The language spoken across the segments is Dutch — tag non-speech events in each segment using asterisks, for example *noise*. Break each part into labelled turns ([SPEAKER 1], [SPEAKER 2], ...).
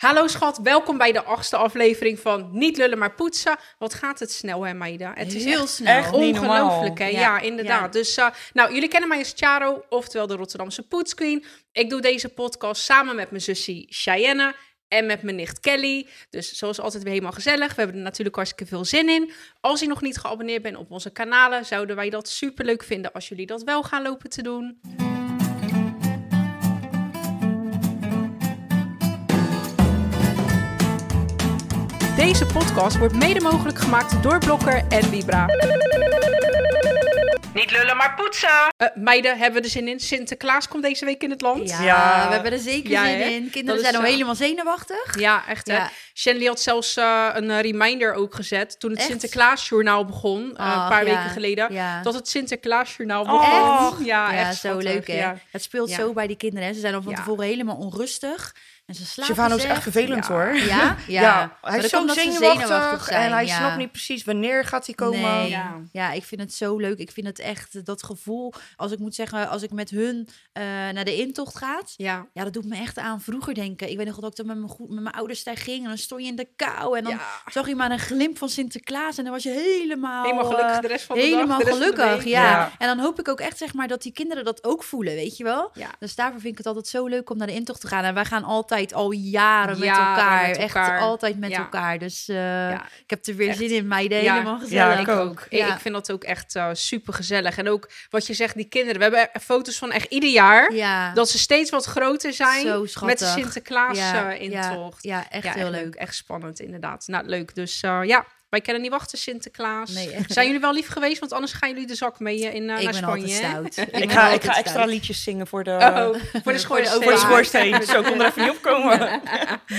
[SPEAKER 1] Hallo schat, welkom bij de achtste aflevering van Niet lullen maar poetsen. Wat gaat het snel hè Maida? Het is
[SPEAKER 2] Heel
[SPEAKER 1] echt,
[SPEAKER 2] snel.
[SPEAKER 1] echt
[SPEAKER 2] Niet normaal.
[SPEAKER 1] ongelooflijk hè? Ja,
[SPEAKER 2] Ja.
[SPEAKER 1] inderdaad.
[SPEAKER 2] Ja.
[SPEAKER 1] Dus eh, nou, jullie kennen mij als Charo, oftewel de Rotterdamse poetsqueen. Ik doe deze podcast samen met mijn zusje Cheyenne en met mijn nicht Kelly. Dus zoals altijd weer helemaal gezellig. We hebben er natuurlijk hartstikke veel zin in. Als je nog niet geabonneerd bent op onze kanalen, zouden wij dat superleuk vinden als jullie dat wel gaan lopen te doen. Deze podcast wordt mede mogelijk gemaakt door Blokker en Libra. Niet lullen, maar poetsen! Eh, meiden, hebben we er zin in? Sinterklaas komt deze week in het land.
[SPEAKER 2] Ja,
[SPEAKER 3] Ja.
[SPEAKER 2] we hebben er zeker
[SPEAKER 1] Ja,
[SPEAKER 2] zin
[SPEAKER 1] hè?
[SPEAKER 2] in.
[SPEAKER 1] Dat
[SPEAKER 2] Kinderen
[SPEAKER 1] is
[SPEAKER 2] zijn al
[SPEAKER 1] zo.
[SPEAKER 2] helemaal zenuwachtig.
[SPEAKER 1] Ja, echt hè.
[SPEAKER 2] Ja.
[SPEAKER 1] Shanley had zelfs eh, een eh, reminder ook gezet toen het
[SPEAKER 2] Echt?
[SPEAKER 1] Sinterklaasjournaal begon, eh, een
[SPEAKER 2] Ach,
[SPEAKER 1] paar
[SPEAKER 2] ja.
[SPEAKER 1] weken geleden.
[SPEAKER 2] Ja.
[SPEAKER 1] Dat het Sinterklaasjournaal begon.
[SPEAKER 2] Oh. Echt?
[SPEAKER 1] Ja,
[SPEAKER 2] Ja,
[SPEAKER 1] echt
[SPEAKER 2] zo
[SPEAKER 1] schattig,
[SPEAKER 2] leuk hè.
[SPEAKER 1] ja.
[SPEAKER 2] Het speelt
[SPEAKER 1] Ja.
[SPEAKER 2] zo bij die kinderen. Hè. Ze zijn al van
[SPEAKER 1] Ja.
[SPEAKER 2] tevoren helemaal onrustig. En ze slapen
[SPEAKER 3] Stefano is
[SPEAKER 2] slecht.
[SPEAKER 3] echt vervelend
[SPEAKER 1] Ja.
[SPEAKER 3] *laughs* hoor.
[SPEAKER 2] Ja? Ja. Maar
[SPEAKER 3] Hij is
[SPEAKER 2] dat
[SPEAKER 3] zo
[SPEAKER 2] komt omdat ze
[SPEAKER 3] zenuwachtig,
[SPEAKER 2] zijn,
[SPEAKER 3] en hij
[SPEAKER 2] ja.
[SPEAKER 3] snapt niet precies wanneer gaat hij komen.
[SPEAKER 2] Nee.
[SPEAKER 1] Ja.
[SPEAKER 2] Ja. ik vind het zo leuk. Ik vind het echt eh, dat gevoel. Als ik moet zeggen, als ik met hun eh, naar de intocht ga.
[SPEAKER 1] Ja.
[SPEAKER 2] Ja, dat doet me echt aan vroeger denken. Ik weet nog dat ik dan met mijn, goed, met mijn ouders daar ging. En dan stond je in de kou. En dan
[SPEAKER 1] Ja.
[SPEAKER 2] zag je maar een glimp van Sinterklaas. En dan was je helemaal...
[SPEAKER 1] Helemaal
[SPEAKER 2] eh,
[SPEAKER 1] gelukkig de rest van de dag,
[SPEAKER 2] Helemaal
[SPEAKER 1] de rest van de
[SPEAKER 2] gelukkig,
[SPEAKER 1] week.
[SPEAKER 2] ja.
[SPEAKER 3] Ja.
[SPEAKER 2] En dan hoop ik ook echt, zeg maar, dat die kinderen dat ook voelen, weet je wel?
[SPEAKER 1] Ja.
[SPEAKER 2] Dus daarvoor vind ik het altijd zo leuk om naar de intocht te gaan. En wij gaan altijd al jaren met
[SPEAKER 1] Jaren
[SPEAKER 2] elkaar.
[SPEAKER 1] met
[SPEAKER 2] Echt
[SPEAKER 1] elkaar.
[SPEAKER 2] altijd met
[SPEAKER 1] Ja.
[SPEAKER 2] elkaar. Dus eh,
[SPEAKER 1] Ja.
[SPEAKER 2] ik heb er weer
[SPEAKER 1] Echt.
[SPEAKER 2] zin in, meiden.
[SPEAKER 1] Ja.
[SPEAKER 2] Helemaal
[SPEAKER 3] Ja,
[SPEAKER 2] gezellig.
[SPEAKER 3] ik ook.
[SPEAKER 1] Ik-
[SPEAKER 2] Ja.
[SPEAKER 1] Ik vind dat ook echt super gezellig. En ook wat je zegt, die kinderen. We hebben er foto's van echt ieder jaar.
[SPEAKER 2] Ja.
[SPEAKER 1] Dat ze steeds wat groter zijn
[SPEAKER 2] Zo
[SPEAKER 1] met
[SPEAKER 2] schattig.
[SPEAKER 1] de Sinterklaas
[SPEAKER 2] Ja,
[SPEAKER 1] eh,
[SPEAKER 2] ja,
[SPEAKER 1] intocht.
[SPEAKER 2] Ja, echt
[SPEAKER 1] Ja,
[SPEAKER 2] heel leuk.
[SPEAKER 1] Echt spannend, inderdaad. Nou, leuk. Dus eh, ja, wij kunnen niet wachten, Sinterklaas.
[SPEAKER 2] Nee, echt.
[SPEAKER 1] Zijn jullie wel lief geweest? Want anders gaan jullie de zak mee eh, in, eh,
[SPEAKER 2] Ik
[SPEAKER 1] naar
[SPEAKER 2] ben
[SPEAKER 1] Spanje.
[SPEAKER 2] altijd
[SPEAKER 1] hè?
[SPEAKER 2] stout.
[SPEAKER 1] *laughs*
[SPEAKER 3] Ik
[SPEAKER 2] ben
[SPEAKER 3] ga, ik
[SPEAKER 2] altijd
[SPEAKER 3] ga extra
[SPEAKER 2] stout.
[SPEAKER 3] liedjes zingen voor de,
[SPEAKER 2] *laughs*
[SPEAKER 1] Oh, voor de
[SPEAKER 2] de
[SPEAKER 1] schoorsteen.
[SPEAKER 3] voor de
[SPEAKER 2] overheid.
[SPEAKER 3] schoorsteen. Zo kon er even niet op komen.
[SPEAKER 1] *laughs*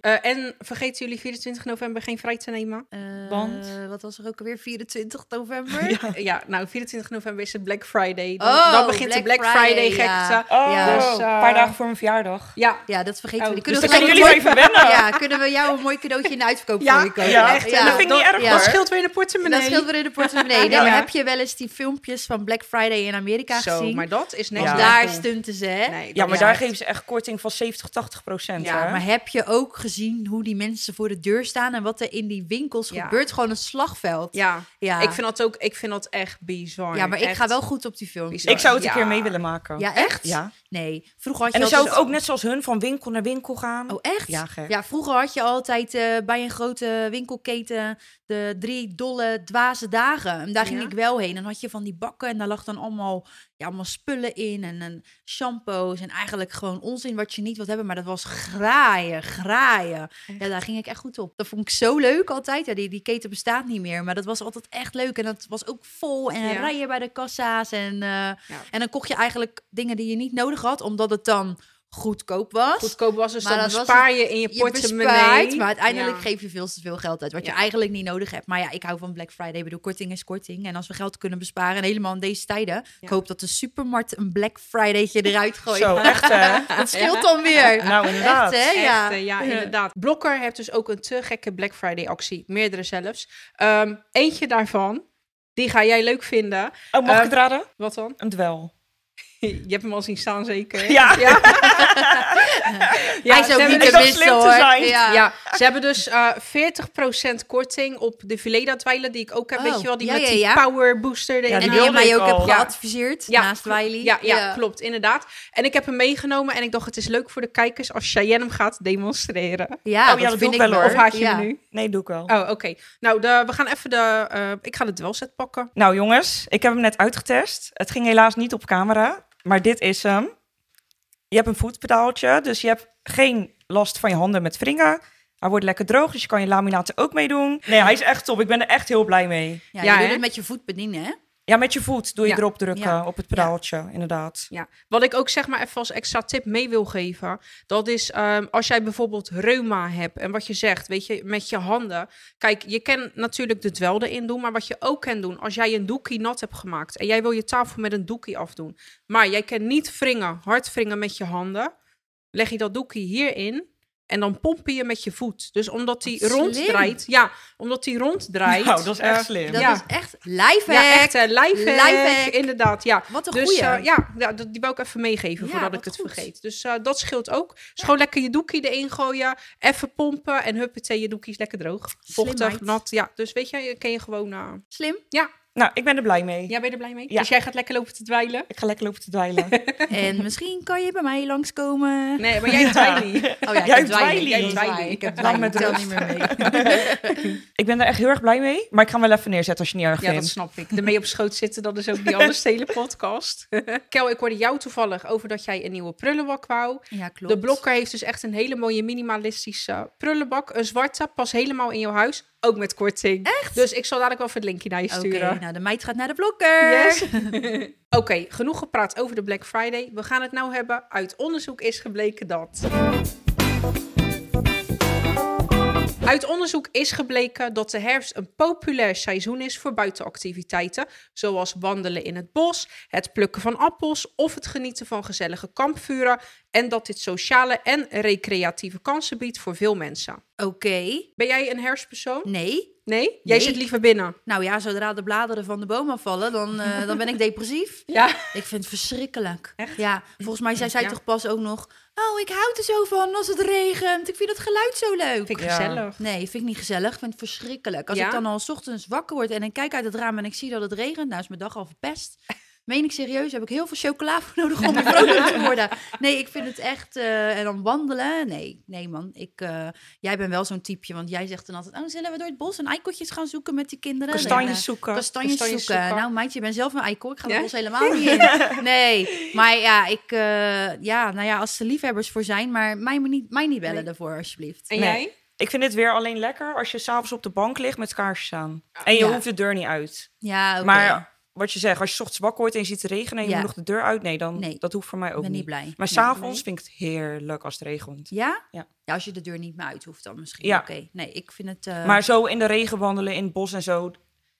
[SPEAKER 1] Eh, en vergeten jullie 24 november geen vrij te
[SPEAKER 2] *laughs*
[SPEAKER 1] nemen?
[SPEAKER 2] Eh,
[SPEAKER 3] Want?
[SPEAKER 2] wat was er ook alweer? 24 november?
[SPEAKER 1] Eh, *laughs* Ja, nou, 24 november is het Black Friday. Dan,
[SPEAKER 2] *laughs* Oh,
[SPEAKER 1] dan begint de Black Friday
[SPEAKER 2] ja.
[SPEAKER 1] gekte.
[SPEAKER 3] Oh,
[SPEAKER 2] Ja, dus,
[SPEAKER 3] een
[SPEAKER 1] eh,
[SPEAKER 3] paar dagen voor mijn verjaardag.
[SPEAKER 1] Ja,
[SPEAKER 2] Ja, dat vergeten
[SPEAKER 1] Oh,
[SPEAKER 2] we. Die
[SPEAKER 3] Dus
[SPEAKER 2] Kunnen
[SPEAKER 3] dan
[SPEAKER 2] we
[SPEAKER 3] kunnen
[SPEAKER 2] gelijk
[SPEAKER 3] jullie
[SPEAKER 2] een
[SPEAKER 3] maar even wennen.
[SPEAKER 2] mooi- *laughs* Ja, kunnen we jou een mooi cadeautje in de uitverkoop
[SPEAKER 1] Ja,
[SPEAKER 2] voor je kopen?
[SPEAKER 3] ja,
[SPEAKER 1] echt.
[SPEAKER 3] ja.
[SPEAKER 1] En dat vind ik niet erg
[SPEAKER 2] Ja.
[SPEAKER 1] Dat scheelt weer in de portemonnee.
[SPEAKER 2] Dat scheelt weer in de
[SPEAKER 1] *laughs*
[SPEAKER 2] portemonnee. Nee,
[SPEAKER 1] Ja.
[SPEAKER 2] maar heb je wel eens die filmpjes van Black Friday in Amerika
[SPEAKER 1] Zo,
[SPEAKER 2] gezien?
[SPEAKER 1] maar dat is net
[SPEAKER 2] Want
[SPEAKER 3] Ja.
[SPEAKER 2] daar
[SPEAKER 1] stil.
[SPEAKER 2] stunten ze, hè?
[SPEAKER 1] Nee,
[SPEAKER 3] Ja,
[SPEAKER 1] dat
[SPEAKER 3] maar
[SPEAKER 1] is
[SPEAKER 3] daar
[SPEAKER 1] echt-
[SPEAKER 3] geven ze echt korting van 70, 80 procent.
[SPEAKER 1] Ja,
[SPEAKER 3] hè?
[SPEAKER 2] Maar heb je ook gezien hoe die mensen voor de deur staan en wat er in die winkels
[SPEAKER 1] Ja.
[SPEAKER 2] gebeurt? Gewoon een slagveld.
[SPEAKER 1] Ja.
[SPEAKER 2] Ja.
[SPEAKER 1] ik vind dat ook ik vind dat echt bizar.
[SPEAKER 2] Ja, maar ik
[SPEAKER 1] Echt.
[SPEAKER 2] ga wel goed op die filmpjes.
[SPEAKER 1] Bizar.
[SPEAKER 3] Ik zou het
[SPEAKER 1] Ja.
[SPEAKER 3] een keer mee willen maken.
[SPEAKER 2] Ja, echt?
[SPEAKER 3] Ja.
[SPEAKER 2] Nee. Vroeger had je
[SPEAKER 3] En dan
[SPEAKER 2] altijd-
[SPEAKER 3] zou ik ook net zoals hun van winkel naar winkel gaan.
[SPEAKER 2] Oh, echt?
[SPEAKER 3] Ja, gek.
[SPEAKER 2] Ja, vroeger had je altijd eh, bij een grote winkelketen de drie dolle dwaze dagen. En daar ging
[SPEAKER 1] Ja.
[SPEAKER 2] ik wel heen. En dan had je van die bakken en daar lag dan allemaal, ja, allemaal spullen in en, en shampoos. En eigenlijk gewoon onzin wat je niet wilt hebben. Maar dat was graaien, graaien. Ja, daar ging ik echt goed op. Dat vond ik zo leuk altijd. Ja, die, die keten bestaat niet meer. Maar dat was altijd echt leuk. En dat was ook vol en
[SPEAKER 1] Ja.
[SPEAKER 2] rijen bij de kassa's. En, eh,
[SPEAKER 1] Ja.
[SPEAKER 2] en dan kocht je eigenlijk dingen die je niet nodig had, omdat het dan goedkoop was
[SPEAKER 1] goedkoop was dus
[SPEAKER 2] Maar
[SPEAKER 1] dan
[SPEAKER 2] dat was
[SPEAKER 1] bespaar je in je
[SPEAKER 2] je
[SPEAKER 1] portemonnee.
[SPEAKER 2] bespaart, maar uiteindelijk
[SPEAKER 1] Ja.
[SPEAKER 2] geef je veel te veel geld uit. Wat
[SPEAKER 1] Ja.
[SPEAKER 2] je eigenlijk niet nodig hebt. Maar ja, ik hou van Black Friday. Ik bedoel, korting is korting. En als we geld kunnen besparen, en helemaal in deze tijden. Ik hoop dat de supermarkt een Black Fridaytje eruit gooit.
[SPEAKER 3] Zo, echt eh, hè?
[SPEAKER 2] *laughs* Dat scheelt dan weer.
[SPEAKER 3] Nou, inderdaad.
[SPEAKER 2] Echt, hè? Ja.
[SPEAKER 1] Echt, eh, ja, inderdaad. Blokker heeft dus ook een te gekke Black Friday actie. Meerdere zelfs. Ehm, eentje daarvan, die ga jij leuk vinden.
[SPEAKER 3] Oh, mag
[SPEAKER 1] Eh,
[SPEAKER 3] ik het raden?
[SPEAKER 1] Wat dan? *laughs*
[SPEAKER 3] Een dwel.
[SPEAKER 1] Je hebt hem al zien staan zeker?
[SPEAKER 3] Ja.
[SPEAKER 1] ja. Ja,
[SPEAKER 2] Hij
[SPEAKER 1] ze
[SPEAKER 2] is ook
[SPEAKER 1] hebben
[SPEAKER 2] niet
[SPEAKER 3] dus-
[SPEAKER 2] te
[SPEAKER 3] Hij is ook
[SPEAKER 2] missen,
[SPEAKER 3] slim te
[SPEAKER 2] hoor.
[SPEAKER 3] zijn.
[SPEAKER 2] Ja.
[SPEAKER 1] Ja, ze hebben dus eh 40% korting op de Filet-Dwijlen die ik ook heb.
[SPEAKER 2] Oh,
[SPEAKER 1] Weet je wel, die
[SPEAKER 2] ja,
[SPEAKER 1] met
[SPEAKER 2] ja,
[SPEAKER 1] die
[SPEAKER 2] ja.
[SPEAKER 1] power booster.
[SPEAKER 3] Ja,
[SPEAKER 2] En
[SPEAKER 1] en
[SPEAKER 2] die
[SPEAKER 3] wilde
[SPEAKER 2] je mij
[SPEAKER 3] ik
[SPEAKER 2] ook hebt
[SPEAKER 3] al.
[SPEAKER 2] geadviseerd
[SPEAKER 1] Ja,
[SPEAKER 2] naast Wiley.
[SPEAKER 1] Ja, ja, klopt, inderdaad. En ik heb hem meegenomen en ik dacht, het is leuk voor de kijkers als Cheyenne hem gaat demonstreren.
[SPEAKER 2] Ja,
[SPEAKER 3] Oh, ja, dat
[SPEAKER 2] vind
[SPEAKER 3] doe ik
[SPEAKER 2] ik
[SPEAKER 3] wel,
[SPEAKER 1] Of haat je
[SPEAKER 2] Ja.
[SPEAKER 1] hem nu?
[SPEAKER 3] Nee, doe ik wel.
[SPEAKER 1] Oh, oké. Nou, de, we gaan even de... eh, ik ga de dwelset pakken.
[SPEAKER 3] Nou jongens, ik heb hem net uitgetest. Het ging helaas niet op camera, maar dit is hem. Je hebt een voetpedaaltje, dus je hebt geen last van je handen met wringen. Hij wordt lekker droog, dus je kan je laminaten ook mee doen. Nee, hij is echt top. Ik ben er echt heel blij mee.
[SPEAKER 2] Ja,
[SPEAKER 1] Ja,
[SPEAKER 2] je
[SPEAKER 1] hè?
[SPEAKER 2] doet het met je voet bedienen, hè?
[SPEAKER 3] Ja, met je voet doe je
[SPEAKER 1] Ja,
[SPEAKER 3] erop drukken
[SPEAKER 2] ja,
[SPEAKER 3] op het pedaaltje, inderdaad.
[SPEAKER 1] Ja. Wat ik ook zeg maar even als extra tip mee wil geven, dat is ehm, als jij bijvoorbeeld reuma hebt en wat je zegt, weet je, met je handen. Kijk, je kan natuurlijk de dwel erin doen, maar wat je ook kan doen, als jij een doekie nat hebt gemaakt en jij wil je tafel met een doekie afdoen, maar jij kan niet wringen, hard wringen met je handen, leg je dat doekie hierin En dan pomp je met je voet. Dus omdat die
[SPEAKER 2] Wat
[SPEAKER 1] ronddraait. Ja, omdat die ronddraait.
[SPEAKER 3] Nou, dat is echt
[SPEAKER 1] eh,
[SPEAKER 3] slim.
[SPEAKER 2] Dat
[SPEAKER 1] Ja.
[SPEAKER 2] is echt lifehack.
[SPEAKER 1] Ja, echt eh, lifehack.
[SPEAKER 2] Lifehack.
[SPEAKER 1] Inderdaad, ja.
[SPEAKER 2] Wat een
[SPEAKER 1] Dus
[SPEAKER 2] goeie.
[SPEAKER 1] eh, ja, ja, dat- die wou ik even meegeven
[SPEAKER 2] Ja,
[SPEAKER 1] voordat ik
[SPEAKER 2] wat
[SPEAKER 1] het
[SPEAKER 2] goed.
[SPEAKER 1] vergeet. Dus eh, dat scheelt ook. Dus gewoon lekker je doekie erin gooien. Even pompen en huppatee, je doekie is lekker droog.
[SPEAKER 2] Slim,
[SPEAKER 1] Vochtig,
[SPEAKER 2] meid.
[SPEAKER 1] nat. Ja, dus weet je, je kan je gewoon... eh,
[SPEAKER 2] Slim.
[SPEAKER 3] Nou, ik ben er blij mee.
[SPEAKER 1] Ja, ben je er blij mee?
[SPEAKER 3] Ja.
[SPEAKER 1] Dus jij gaat lekker lopen te dweilen?
[SPEAKER 3] Ik ga lekker lopen te
[SPEAKER 1] *laughs*
[SPEAKER 3] dweilen.
[SPEAKER 2] En misschien kan je bij mij langskomen.
[SPEAKER 1] Nee, *laughs* maar jij dweilt niet.
[SPEAKER 2] Oh ja,
[SPEAKER 3] Jij
[SPEAKER 2] ik heb dweiling.
[SPEAKER 3] dweiling.
[SPEAKER 2] Jij
[SPEAKER 1] Jij dweiling.
[SPEAKER 2] *laughs* Ik heb
[SPEAKER 3] Lang
[SPEAKER 2] dweiling.
[SPEAKER 3] met
[SPEAKER 2] Ik tel niet meer mee.
[SPEAKER 3] ik ben er echt heel erg blij mee. Maar ik ga hem wel even neerzetten als je het niet erg
[SPEAKER 1] Ja, dat
[SPEAKER 3] vindt.
[SPEAKER 1] snap ik. Ermee op schoot zitten, dat is ook die andere stele *laughs* podcast. Kel, ik hoorde jou toevallig over dat jij een nieuwe prullenbak wou.
[SPEAKER 2] *laughs* Ja, klopt.
[SPEAKER 1] De Blokker heeft dus echt een hele mooie minimalistische prullenbak. Een zwarte, pas helemaal in jouw huis. Ook met korting. Echt? Dus ik zal dadelijk wel even het linkje naar je
[SPEAKER 2] Oké,
[SPEAKER 1] sturen.
[SPEAKER 2] nou de meid gaat naar de blokker.
[SPEAKER 1] Yes. *laughs* Oké, genoeg gepraat over de Black Friday. We gaan het nou hebben. Uit onderzoek is gebleken dat. Uit onderzoek is gebleken dat de herfst een populair seizoen is voor buitenactiviteiten, zoals wandelen in het bos, het plukken van appels of het genieten van gezellige kampvuren, en dat dit sociale en recreatieve kansen biedt voor veel mensen.
[SPEAKER 2] Oké.
[SPEAKER 1] Ben jij een herfstpersoon?
[SPEAKER 2] Nee.
[SPEAKER 1] Nee? Jij
[SPEAKER 2] Nee.
[SPEAKER 1] zit liever binnen.
[SPEAKER 2] Nou ja, zodra de bladeren van de boom afvallen, dan, eh, dan ben *laughs* ik depressief.
[SPEAKER 1] Ja.
[SPEAKER 2] Ik vind het verschrikkelijk. Ja, volgens mij zei zij
[SPEAKER 1] Ja.
[SPEAKER 2] toch pas ook nog... Oh, ik houd er zo van als het regent. Ik vind dat geluid zo leuk.
[SPEAKER 1] Vind ik
[SPEAKER 3] Ja.
[SPEAKER 1] gezellig.
[SPEAKER 2] Nee, vind ik niet gezellig. Ik vind het verschrikkelijk. Als
[SPEAKER 1] Ja?
[SPEAKER 2] ik dan al 's ochtends wakker word en ik kijk uit het raam en ik zie dat het regent, nou is mijn dag al
[SPEAKER 1] *laughs*
[SPEAKER 2] verpest. Meen ik serieus, heb ik heel veel chocola voor nodig om weer vrolijk te worden. Nee, ik vind het echt... eh, en dan wandelen? Nee, nee man. Ik, eh, jij bent wel zo'n typeje, want jij zegt dan altijd... Oh, zullen we door het bos een eikeltjes gaan zoeken met die kinderen? En, eh,
[SPEAKER 3] Kastanjes zoeken.
[SPEAKER 2] Kastanjes,
[SPEAKER 1] Kastanjes
[SPEAKER 2] zoeken.
[SPEAKER 1] zoeken.
[SPEAKER 2] Nou, meid, je bent zelf een eikel. Ik ga
[SPEAKER 1] Ja?
[SPEAKER 2] het bos helemaal niet
[SPEAKER 1] *laughs*
[SPEAKER 2] in. Nee, maar ja, ik, eh, ja, nou ja, als er liefhebbers voor zijn, maar mij, me niet, mij niet bellen
[SPEAKER 1] Nee.
[SPEAKER 2] daarvoor, alsjeblieft.
[SPEAKER 1] En
[SPEAKER 3] Nee.
[SPEAKER 1] jij?
[SPEAKER 3] Ik vind dit weer alleen lekker als je s'avonds op de bank ligt met kaarsjes aan. En je
[SPEAKER 2] Ja.
[SPEAKER 3] hoeft de deur niet uit.
[SPEAKER 2] Ja, oké.
[SPEAKER 3] Maar wat je zegt, als je 's ochtends wakker wordt en je ziet het regenen en je
[SPEAKER 2] Ja.
[SPEAKER 3] moet nog de deur uit. Nee, dan,
[SPEAKER 2] Nee.
[SPEAKER 3] dat hoeft voor mij
[SPEAKER 2] ik
[SPEAKER 3] ook
[SPEAKER 2] ben niet
[SPEAKER 3] niet.
[SPEAKER 2] blij.
[SPEAKER 3] Maar
[SPEAKER 1] Nee.
[SPEAKER 3] s'avonds vind ik het heerlijk als het regent.
[SPEAKER 2] Ja?
[SPEAKER 3] Ja.
[SPEAKER 2] als je de deur niet meer uit hoeft dan misschien.
[SPEAKER 3] Ja.
[SPEAKER 2] Oké, nee, ik vind het... eh,
[SPEAKER 3] Maar zo in de regen wandelen, in het bos en zo. nou,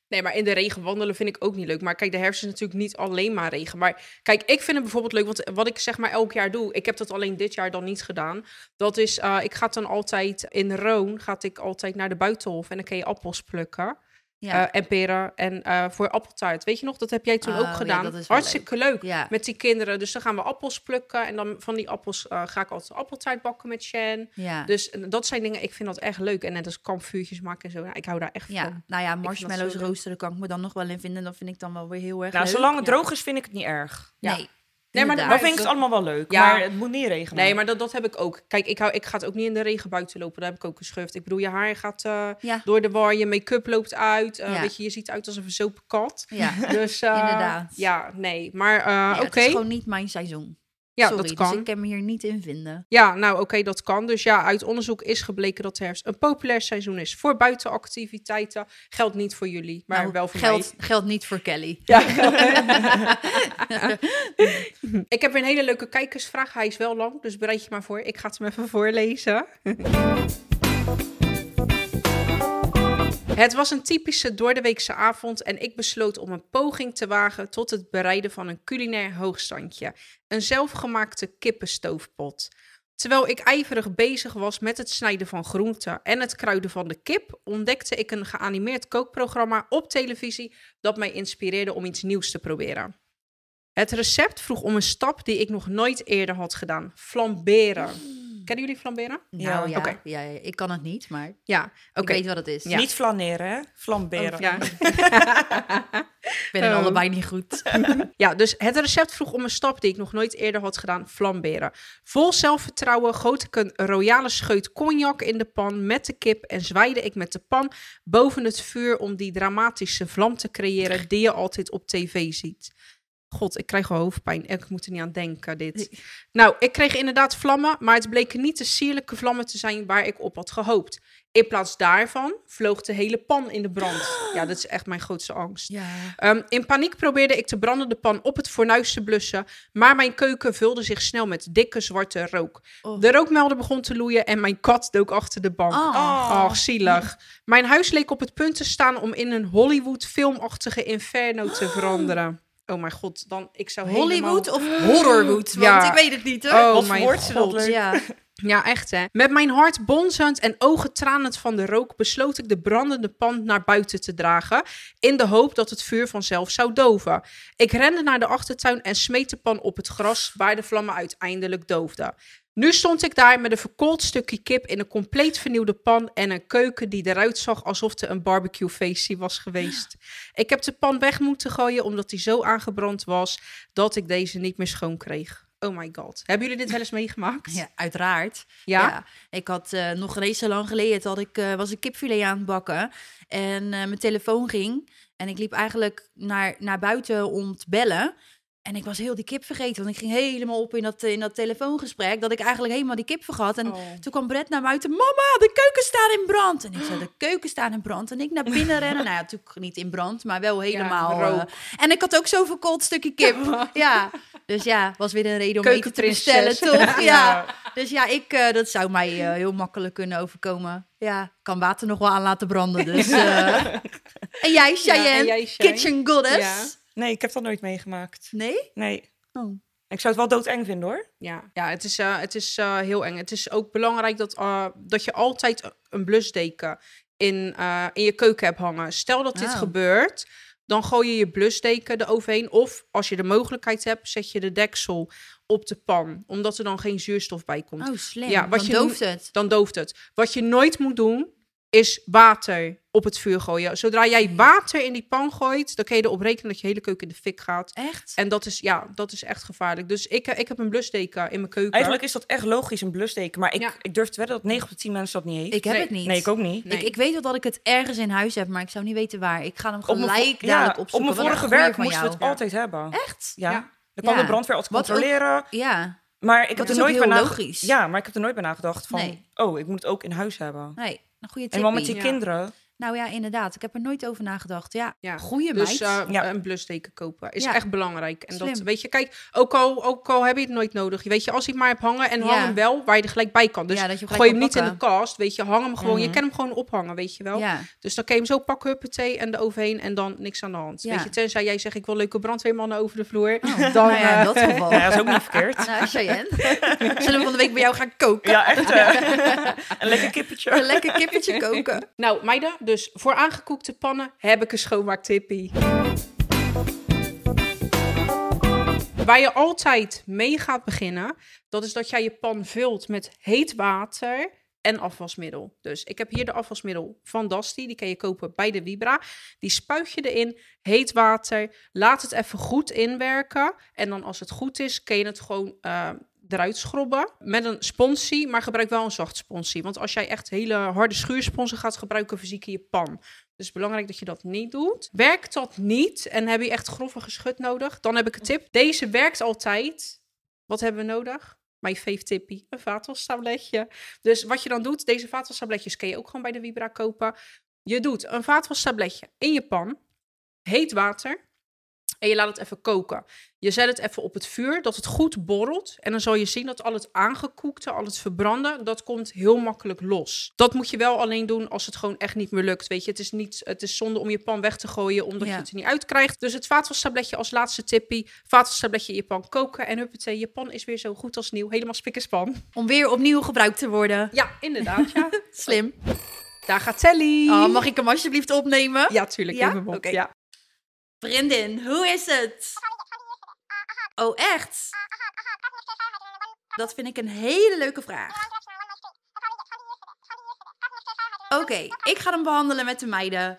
[SPEAKER 1] Nee, maar in de regen wandelen vind ik ook niet leuk. Maar kijk, de herfst is natuurlijk niet alleen maar regen. Maar kijk, ik vind het bijvoorbeeld leuk, want wat ik zeg maar elk jaar doe, ik heb dat alleen dit jaar dan niet gedaan. Dat is, eh, ik ga dan altijd in Roon, gaat ik altijd naar de buitenhof en dan kan je appels plukken
[SPEAKER 2] ja.
[SPEAKER 1] eh, en peren en eh, voor appeltaart. Weet je nog, dat heb jij toen
[SPEAKER 2] Oh, ja,
[SPEAKER 1] ook gedaan.
[SPEAKER 2] dat is wel
[SPEAKER 1] Hartstikke leuk.
[SPEAKER 2] ja.
[SPEAKER 1] Met die kinderen. Dus dan gaan we appels plukken. En dan van die appels eh, ga ik altijd appeltaart bakken met Shen.
[SPEAKER 2] ja.
[SPEAKER 1] Dus eh, dat zijn dingen, ik vind dat echt leuk. En net als kampvuurtjes maken en zo. Nou, ik hou daar echt van.
[SPEAKER 2] ja, nou ja,
[SPEAKER 1] dat zo
[SPEAKER 2] marshmallows
[SPEAKER 1] leuk.
[SPEAKER 2] roosteren kan ik me dan nog wel in vinden. Dat vind ik dan wel weer heel erg
[SPEAKER 3] Nou,
[SPEAKER 2] leuk.
[SPEAKER 3] zolang het
[SPEAKER 1] ja.
[SPEAKER 3] droog is, vind ik het niet erg.
[SPEAKER 1] ja.
[SPEAKER 2] Nee,
[SPEAKER 1] Nee, maar
[SPEAKER 2] inderdaad.
[SPEAKER 3] Dan vind ik
[SPEAKER 1] dat-
[SPEAKER 3] het allemaal wel leuk.
[SPEAKER 1] Ja.
[SPEAKER 3] Maar het moet niet regenen.
[SPEAKER 1] Nee, maar dat, dat heb ik ook. Kijk, ik, hou, ik ga het ook niet in de regen buiten lopen. Daar heb ik ook een schurft. Ik bedoel, je haar gaat eh,
[SPEAKER 2] Ja.
[SPEAKER 1] door de war, je make-up loopt uit. eh,
[SPEAKER 2] Ja.
[SPEAKER 1] Weet je, je ziet uit als een verzopen kat. *laughs*
[SPEAKER 2] Ja, *laughs*
[SPEAKER 1] Dus eh,
[SPEAKER 2] Inderdaad.
[SPEAKER 1] Ja, nee. Maar eh,
[SPEAKER 2] Ja,
[SPEAKER 1] oké.
[SPEAKER 2] het is gewoon niet mijn seizoen.
[SPEAKER 1] Ja,
[SPEAKER 2] Sorry,
[SPEAKER 1] dat kan.
[SPEAKER 2] dus ik kan me hier niet in vinden.
[SPEAKER 1] Ja, nou oké, dat kan. Dus ja, uit onderzoek is gebleken dat de herfst een populair seizoen is voor buitenactiviteiten. Geldt niet voor jullie, maar
[SPEAKER 2] Nou,
[SPEAKER 1] wel voor mij.
[SPEAKER 2] geldt, geldt niet voor Kelly.
[SPEAKER 1] Ik heb weer een hele leuke kijkersvraag. Hij is wel lang, dus bereid je maar voor. Ik ga het hem even voorlezen. Het was een typische doordeweekse avond en ik besloot om een poging te wagen tot het bereiden van een culinair hoogstandje. Een zelfgemaakte kippenstoofpot. Terwijl ik ijverig bezig was met het snijden van groenten en het kruiden van de kip, ontdekte ik een geanimeerd kookprogramma op televisie dat mij inspireerde om iets nieuws te proberen. Het recept vroeg om een stap die ik nog nooit eerder had gedaan: flamberen.
[SPEAKER 2] Mm.
[SPEAKER 1] Kennen jullie flamberen?
[SPEAKER 3] Ja,
[SPEAKER 2] Nou ja,
[SPEAKER 1] oké.
[SPEAKER 2] ja, ja, ik kan het niet, maar
[SPEAKER 1] Ja, oké.
[SPEAKER 2] ik weet wat het is.
[SPEAKER 1] Ja.
[SPEAKER 3] Dus
[SPEAKER 1] Oh,
[SPEAKER 3] Niet flaneren, hè? Flamberen.
[SPEAKER 1] Ja.
[SPEAKER 2] Ik ben in
[SPEAKER 1] Oh.
[SPEAKER 2] allebei niet goed.
[SPEAKER 1] *laughs* ja, dus het recept vroeg om een stap die ik nog nooit eerder had gedaan: flamberen. Vol zelfvertrouwen goot ik een royale scheut cognac in de pan met de kip en zwaaide ik met de pan boven het vuur om die dramatische vlam te creëren die je altijd op tv ziet. God, ik krijg al hoofdpijn. Ik moet er niet aan denken, dit. Nou, ik kreeg inderdaad vlammen, maar het bleken niet de sierlijke vlammen te zijn waar ik op had gehoopt. In plaats daarvan vloog de hele pan in de brand. Ja, dat is echt mijn grootste angst.
[SPEAKER 2] Ja.
[SPEAKER 1] Ehm, in paniek probeerde ik de brandende pan op het fornuis te blussen, maar mijn keuken vulde zich snel met dikke zwarte rook.
[SPEAKER 2] Oh.
[SPEAKER 1] De rookmelder begon te loeien en mijn kat dook achter de bank.
[SPEAKER 2] Oh.
[SPEAKER 3] Oh.
[SPEAKER 1] Ach, zielig. Mijn huis leek op het punt te staan om in een Hollywood filmachtige inferno te veranderen. Oh mijn god, dan ik zou
[SPEAKER 2] Hollywood
[SPEAKER 1] helemaal...
[SPEAKER 2] of Horrorwood? Want
[SPEAKER 1] Ja.
[SPEAKER 2] ik weet het niet, hoor.
[SPEAKER 1] Oh
[SPEAKER 3] Wat voor
[SPEAKER 1] mijn
[SPEAKER 3] woord is dat
[SPEAKER 1] god.
[SPEAKER 3] leuk?
[SPEAKER 2] Ja.
[SPEAKER 1] Ja, echt hè. Met mijn hart bonzend en ogen tranend van de rook besloot ik de brandende pan naar buiten te dragen, in de hoop dat het vuur vanzelf zou doven. Ik rende naar de achtertuin en smeet de pan op het gras, waar de vlammen uiteindelijk doofden. Nu stond ik daar met een verkoold stukje kip in een compleet vernieuwde pan en een keuken die eruit zag alsof er een barbecuefeestje was geweest. Ik heb de pan weg moeten gooien omdat die zo aangebrand was dat ik deze niet meer schoon kreeg. Oh my god. Hebben jullie dit wel eens meegemaakt?
[SPEAKER 2] ja, uiteraard.
[SPEAKER 1] Ja?
[SPEAKER 2] Ik had eh, nog reeds zo lang geleden, toen had ik, eh, was ik kipfilet aan het bakken. En eh, mijn telefoon ging. En ik liep eigenlijk naar, naar buiten om te bellen. En ik was heel die kip vergeten, want ik ging helemaal op in dat, in dat telefoongesprek. Dat ik eigenlijk helemaal die kip vergat. En
[SPEAKER 1] Oh.
[SPEAKER 2] toen kwam Brett naar buiten. Mama, de keuken staat in brand. En ik zei, de keuken staat in brand. En ik naar binnen rennen. Nou ja, natuurlijk niet in brand, maar wel helemaal...
[SPEAKER 1] rook.
[SPEAKER 2] eh, en ik had ook zo'n verkoold stukje kip.
[SPEAKER 1] *laughs*
[SPEAKER 2] ja, dus ja, was weer een reden om eten te bestellen,
[SPEAKER 1] Keukenprinses.
[SPEAKER 2] *laughs* toch? ja.
[SPEAKER 3] Ja.
[SPEAKER 2] Dus ja, ik, eh, dat zou mij eh, heel makkelijk kunnen overkomen. Ja, ik kan water nog wel aan laten branden.
[SPEAKER 3] *laughs*
[SPEAKER 2] Dus, eh. En jij, Cheyenne,
[SPEAKER 1] en jij, Shay.
[SPEAKER 2] kitchen goddess.
[SPEAKER 3] Nee, ik heb dat nooit meegemaakt.
[SPEAKER 2] Nee?
[SPEAKER 3] Nee.
[SPEAKER 2] Oh.
[SPEAKER 3] Ik zou het wel doodeng vinden hoor.
[SPEAKER 1] Ja, ja het is, eh, het is eh, heel eng. Het is ook belangrijk dat, eh, dat je altijd een blusdeken in, eh, in je keuken hebt hangen. Stel dat dit
[SPEAKER 2] Oh.
[SPEAKER 1] gebeurt, dan gooi je je blusdeken eroverheen. Of als je de mogelijkheid hebt, zet je de deksel op de pan. Omdat er dan geen zuurstof bij komt.
[SPEAKER 2] Oh, slim.
[SPEAKER 1] Ja, wat
[SPEAKER 2] Dan
[SPEAKER 1] je
[SPEAKER 2] dooft het.
[SPEAKER 1] Dan dooft het. Wat je nooit moet doen, is water op het vuur gooien. Zodra jij water in die pan gooit, dan kun je erop rekenen dat je hele keuken in de fik gaat.
[SPEAKER 2] Echt?
[SPEAKER 3] Eh,
[SPEAKER 1] En dat is, ja, dat is echt gevaarlijk. Dus ik, eh, ik heb een blusdeken in mijn keuken.
[SPEAKER 3] Eigenlijk is dat echt logisch, een blusdeken. Maar ik,
[SPEAKER 1] Ja.
[SPEAKER 3] ik durf te wedden dat 9 op de 10 mensen dat niet heeft.
[SPEAKER 2] ik heb
[SPEAKER 1] Nee.
[SPEAKER 2] het niet.
[SPEAKER 3] nee, ik ook niet.
[SPEAKER 1] Nee.
[SPEAKER 2] Ik, ik weet wel dat ik het ergens in huis heb, maar ik zou niet weten waar. Ik ga hem
[SPEAKER 3] Op mijn vo-
[SPEAKER 2] gelijk
[SPEAKER 3] ja,
[SPEAKER 2] dadelijk
[SPEAKER 3] Op
[SPEAKER 2] opzoeken.
[SPEAKER 3] mijn
[SPEAKER 2] Wat een
[SPEAKER 3] vorige
[SPEAKER 2] goeie
[SPEAKER 3] werk
[SPEAKER 2] van
[SPEAKER 3] moesten we
[SPEAKER 2] jou.
[SPEAKER 3] het altijd hebben.
[SPEAKER 2] Echt?
[SPEAKER 3] Ja.
[SPEAKER 1] Ja.
[SPEAKER 3] Dan kwam
[SPEAKER 2] Ja.
[SPEAKER 3] de brandweer altijd
[SPEAKER 2] Wat ook-
[SPEAKER 3] controleren.
[SPEAKER 2] Ja.
[SPEAKER 3] Maar ik
[SPEAKER 2] Dat
[SPEAKER 3] heb
[SPEAKER 2] is
[SPEAKER 3] er
[SPEAKER 2] ook
[SPEAKER 3] nooit
[SPEAKER 2] heel
[SPEAKER 3] bij nage-
[SPEAKER 2] logisch.
[SPEAKER 3] Ja, maar ik heb er nooit bij nagedacht van...
[SPEAKER 2] Nee.
[SPEAKER 3] Oh, ik moet het ook in huis hebben.
[SPEAKER 2] Nee, een goede tip.
[SPEAKER 3] en wel met die
[SPEAKER 1] Ja.
[SPEAKER 3] kinderen.
[SPEAKER 2] Nou ja, inderdaad. Ik heb er nooit over nagedacht. Ja,
[SPEAKER 1] Ja.
[SPEAKER 2] goeie
[SPEAKER 1] Dus
[SPEAKER 2] meid.
[SPEAKER 1] eh,
[SPEAKER 3] Ja.
[SPEAKER 1] een blusdeken kopen is
[SPEAKER 2] Ja.
[SPEAKER 1] echt belangrijk. En dat
[SPEAKER 2] Slim.
[SPEAKER 1] weet je, kijk, ook al, ook al heb je het nooit nodig. Je weet je, als je het maar hebt hangen en hang
[SPEAKER 2] Ja.
[SPEAKER 1] hem wel waar je er gelijk bij kan. Dus
[SPEAKER 2] Ja, dat je hem
[SPEAKER 1] gooi
[SPEAKER 2] gelijk
[SPEAKER 1] hem
[SPEAKER 2] kan
[SPEAKER 1] niet in de kast, weet je, hang hem gewoon. Je
[SPEAKER 3] Mhm.
[SPEAKER 1] kan hem gewoon ophangen, weet je wel.
[SPEAKER 3] *laughs*
[SPEAKER 2] ja.
[SPEAKER 1] Dus dan kan je hem zo pakken, huppatee, en eroverheen en dan niks aan de hand.
[SPEAKER 2] Ja.
[SPEAKER 1] Weet je, tenzij jij zegt, ik wil leuke brandweermannen over de vloer.
[SPEAKER 2] Oh,
[SPEAKER 1] dan,
[SPEAKER 2] nou ja, in
[SPEAKER 1] eh,
[SPEAKER 2] dat geval.
[SPEAKER 3] *laughs* Ja, dat is ook niet
[SPEAKER 2] *laughs*
[SPEAKER 3] verkeerd.
[SPEAKER 2] Nou, Cheyenne. Zullen we van de week bij jou gaan koken?
[SPEAKER 3] Ja, echt. eh,
[SPEAKER 2] *laughs*
[SPEAKER 3] een lekker
[SPEAKER 2] Een
[SPEAKER 3] kippetje.
[SPEAKER 2] lekker kippetje koken.
[SPEAKER 1] Nou, meiden, dus voor aangekoekte pannen heb ik een schoonmaaktippie. Waar je altijd mee gaat beginnen, dat is dat jij je pan vult met heet water en afwasmiddel. Dus ik heb hier de afwasmiddel van Dasti, die kan je kopen bij de Vibra. Die spuit je erin, heet water, laat het even goed inwerken. En dan als het goed is, kun je het gewoon eh, eruit schrobben met een sponsie, maar gebruik wel een zacht sponsie. Want als jij echt hele harde schuursponsen gaat gebruiken, verzieken je pan. Dus belangrijk dat je dat niet doet. Werkt dat niet en heb je echt grove geschut nodig, dan heb ik een tip. Deze werkt altijd. Wat hebben we nodig? My fave tippie, een vaatwastabletje. Dus wat je dan doet, deze vaatwastabletjes kun je ook gewoon bij de Vibra kopen. Je doet een vaatwastabletje in je pan, heet water en je laat het even koken. Je zet het even op het vuur, dat het goed borrelt. En dan zal je zien dat al het aangekoekte, al het verbranden, dat komt heel makkelijk los. Dat moet je wel alleen doen als het gewoon echt niet meer lukt. Weet je, het is, niet, het is zonde om je pan weg te gooien, omdat
[SPEAKER 2] Ja.
[SPEAKER 1] je het er niet uit krijgt. Dus het vaatwastabletje als laatste tippie. Vaatwastabletje in je pan koken en huppatee, je pan is weer zo goed als nieuw. Helemaal spikkerspan.
[SPEAKER 2] Om weer opnieuw gebruikt te worden.
[SPEAKER 1] Ja, inderdaad, ja.
[SPEAKER 2] Slim.
[SPEAKER 1] Daar gaat Telly.
[SPEAKER 2] Oh, mag ik hem alsjeblieft opnemen?
[SPEAKER 1] Ja, tuurlijk.
[SPEAKER 2] Ja?
[SPEAKER 1] Ja? Even op.
[SPEAKER 2] Oké.
[SPEAKER 1] Ja.
[SPEAKER 2] Brindin, hoe is het? Oh, echt? Dat vind ik een hele leuke vraag. Oké, ik ga hem behandelen met de meiden.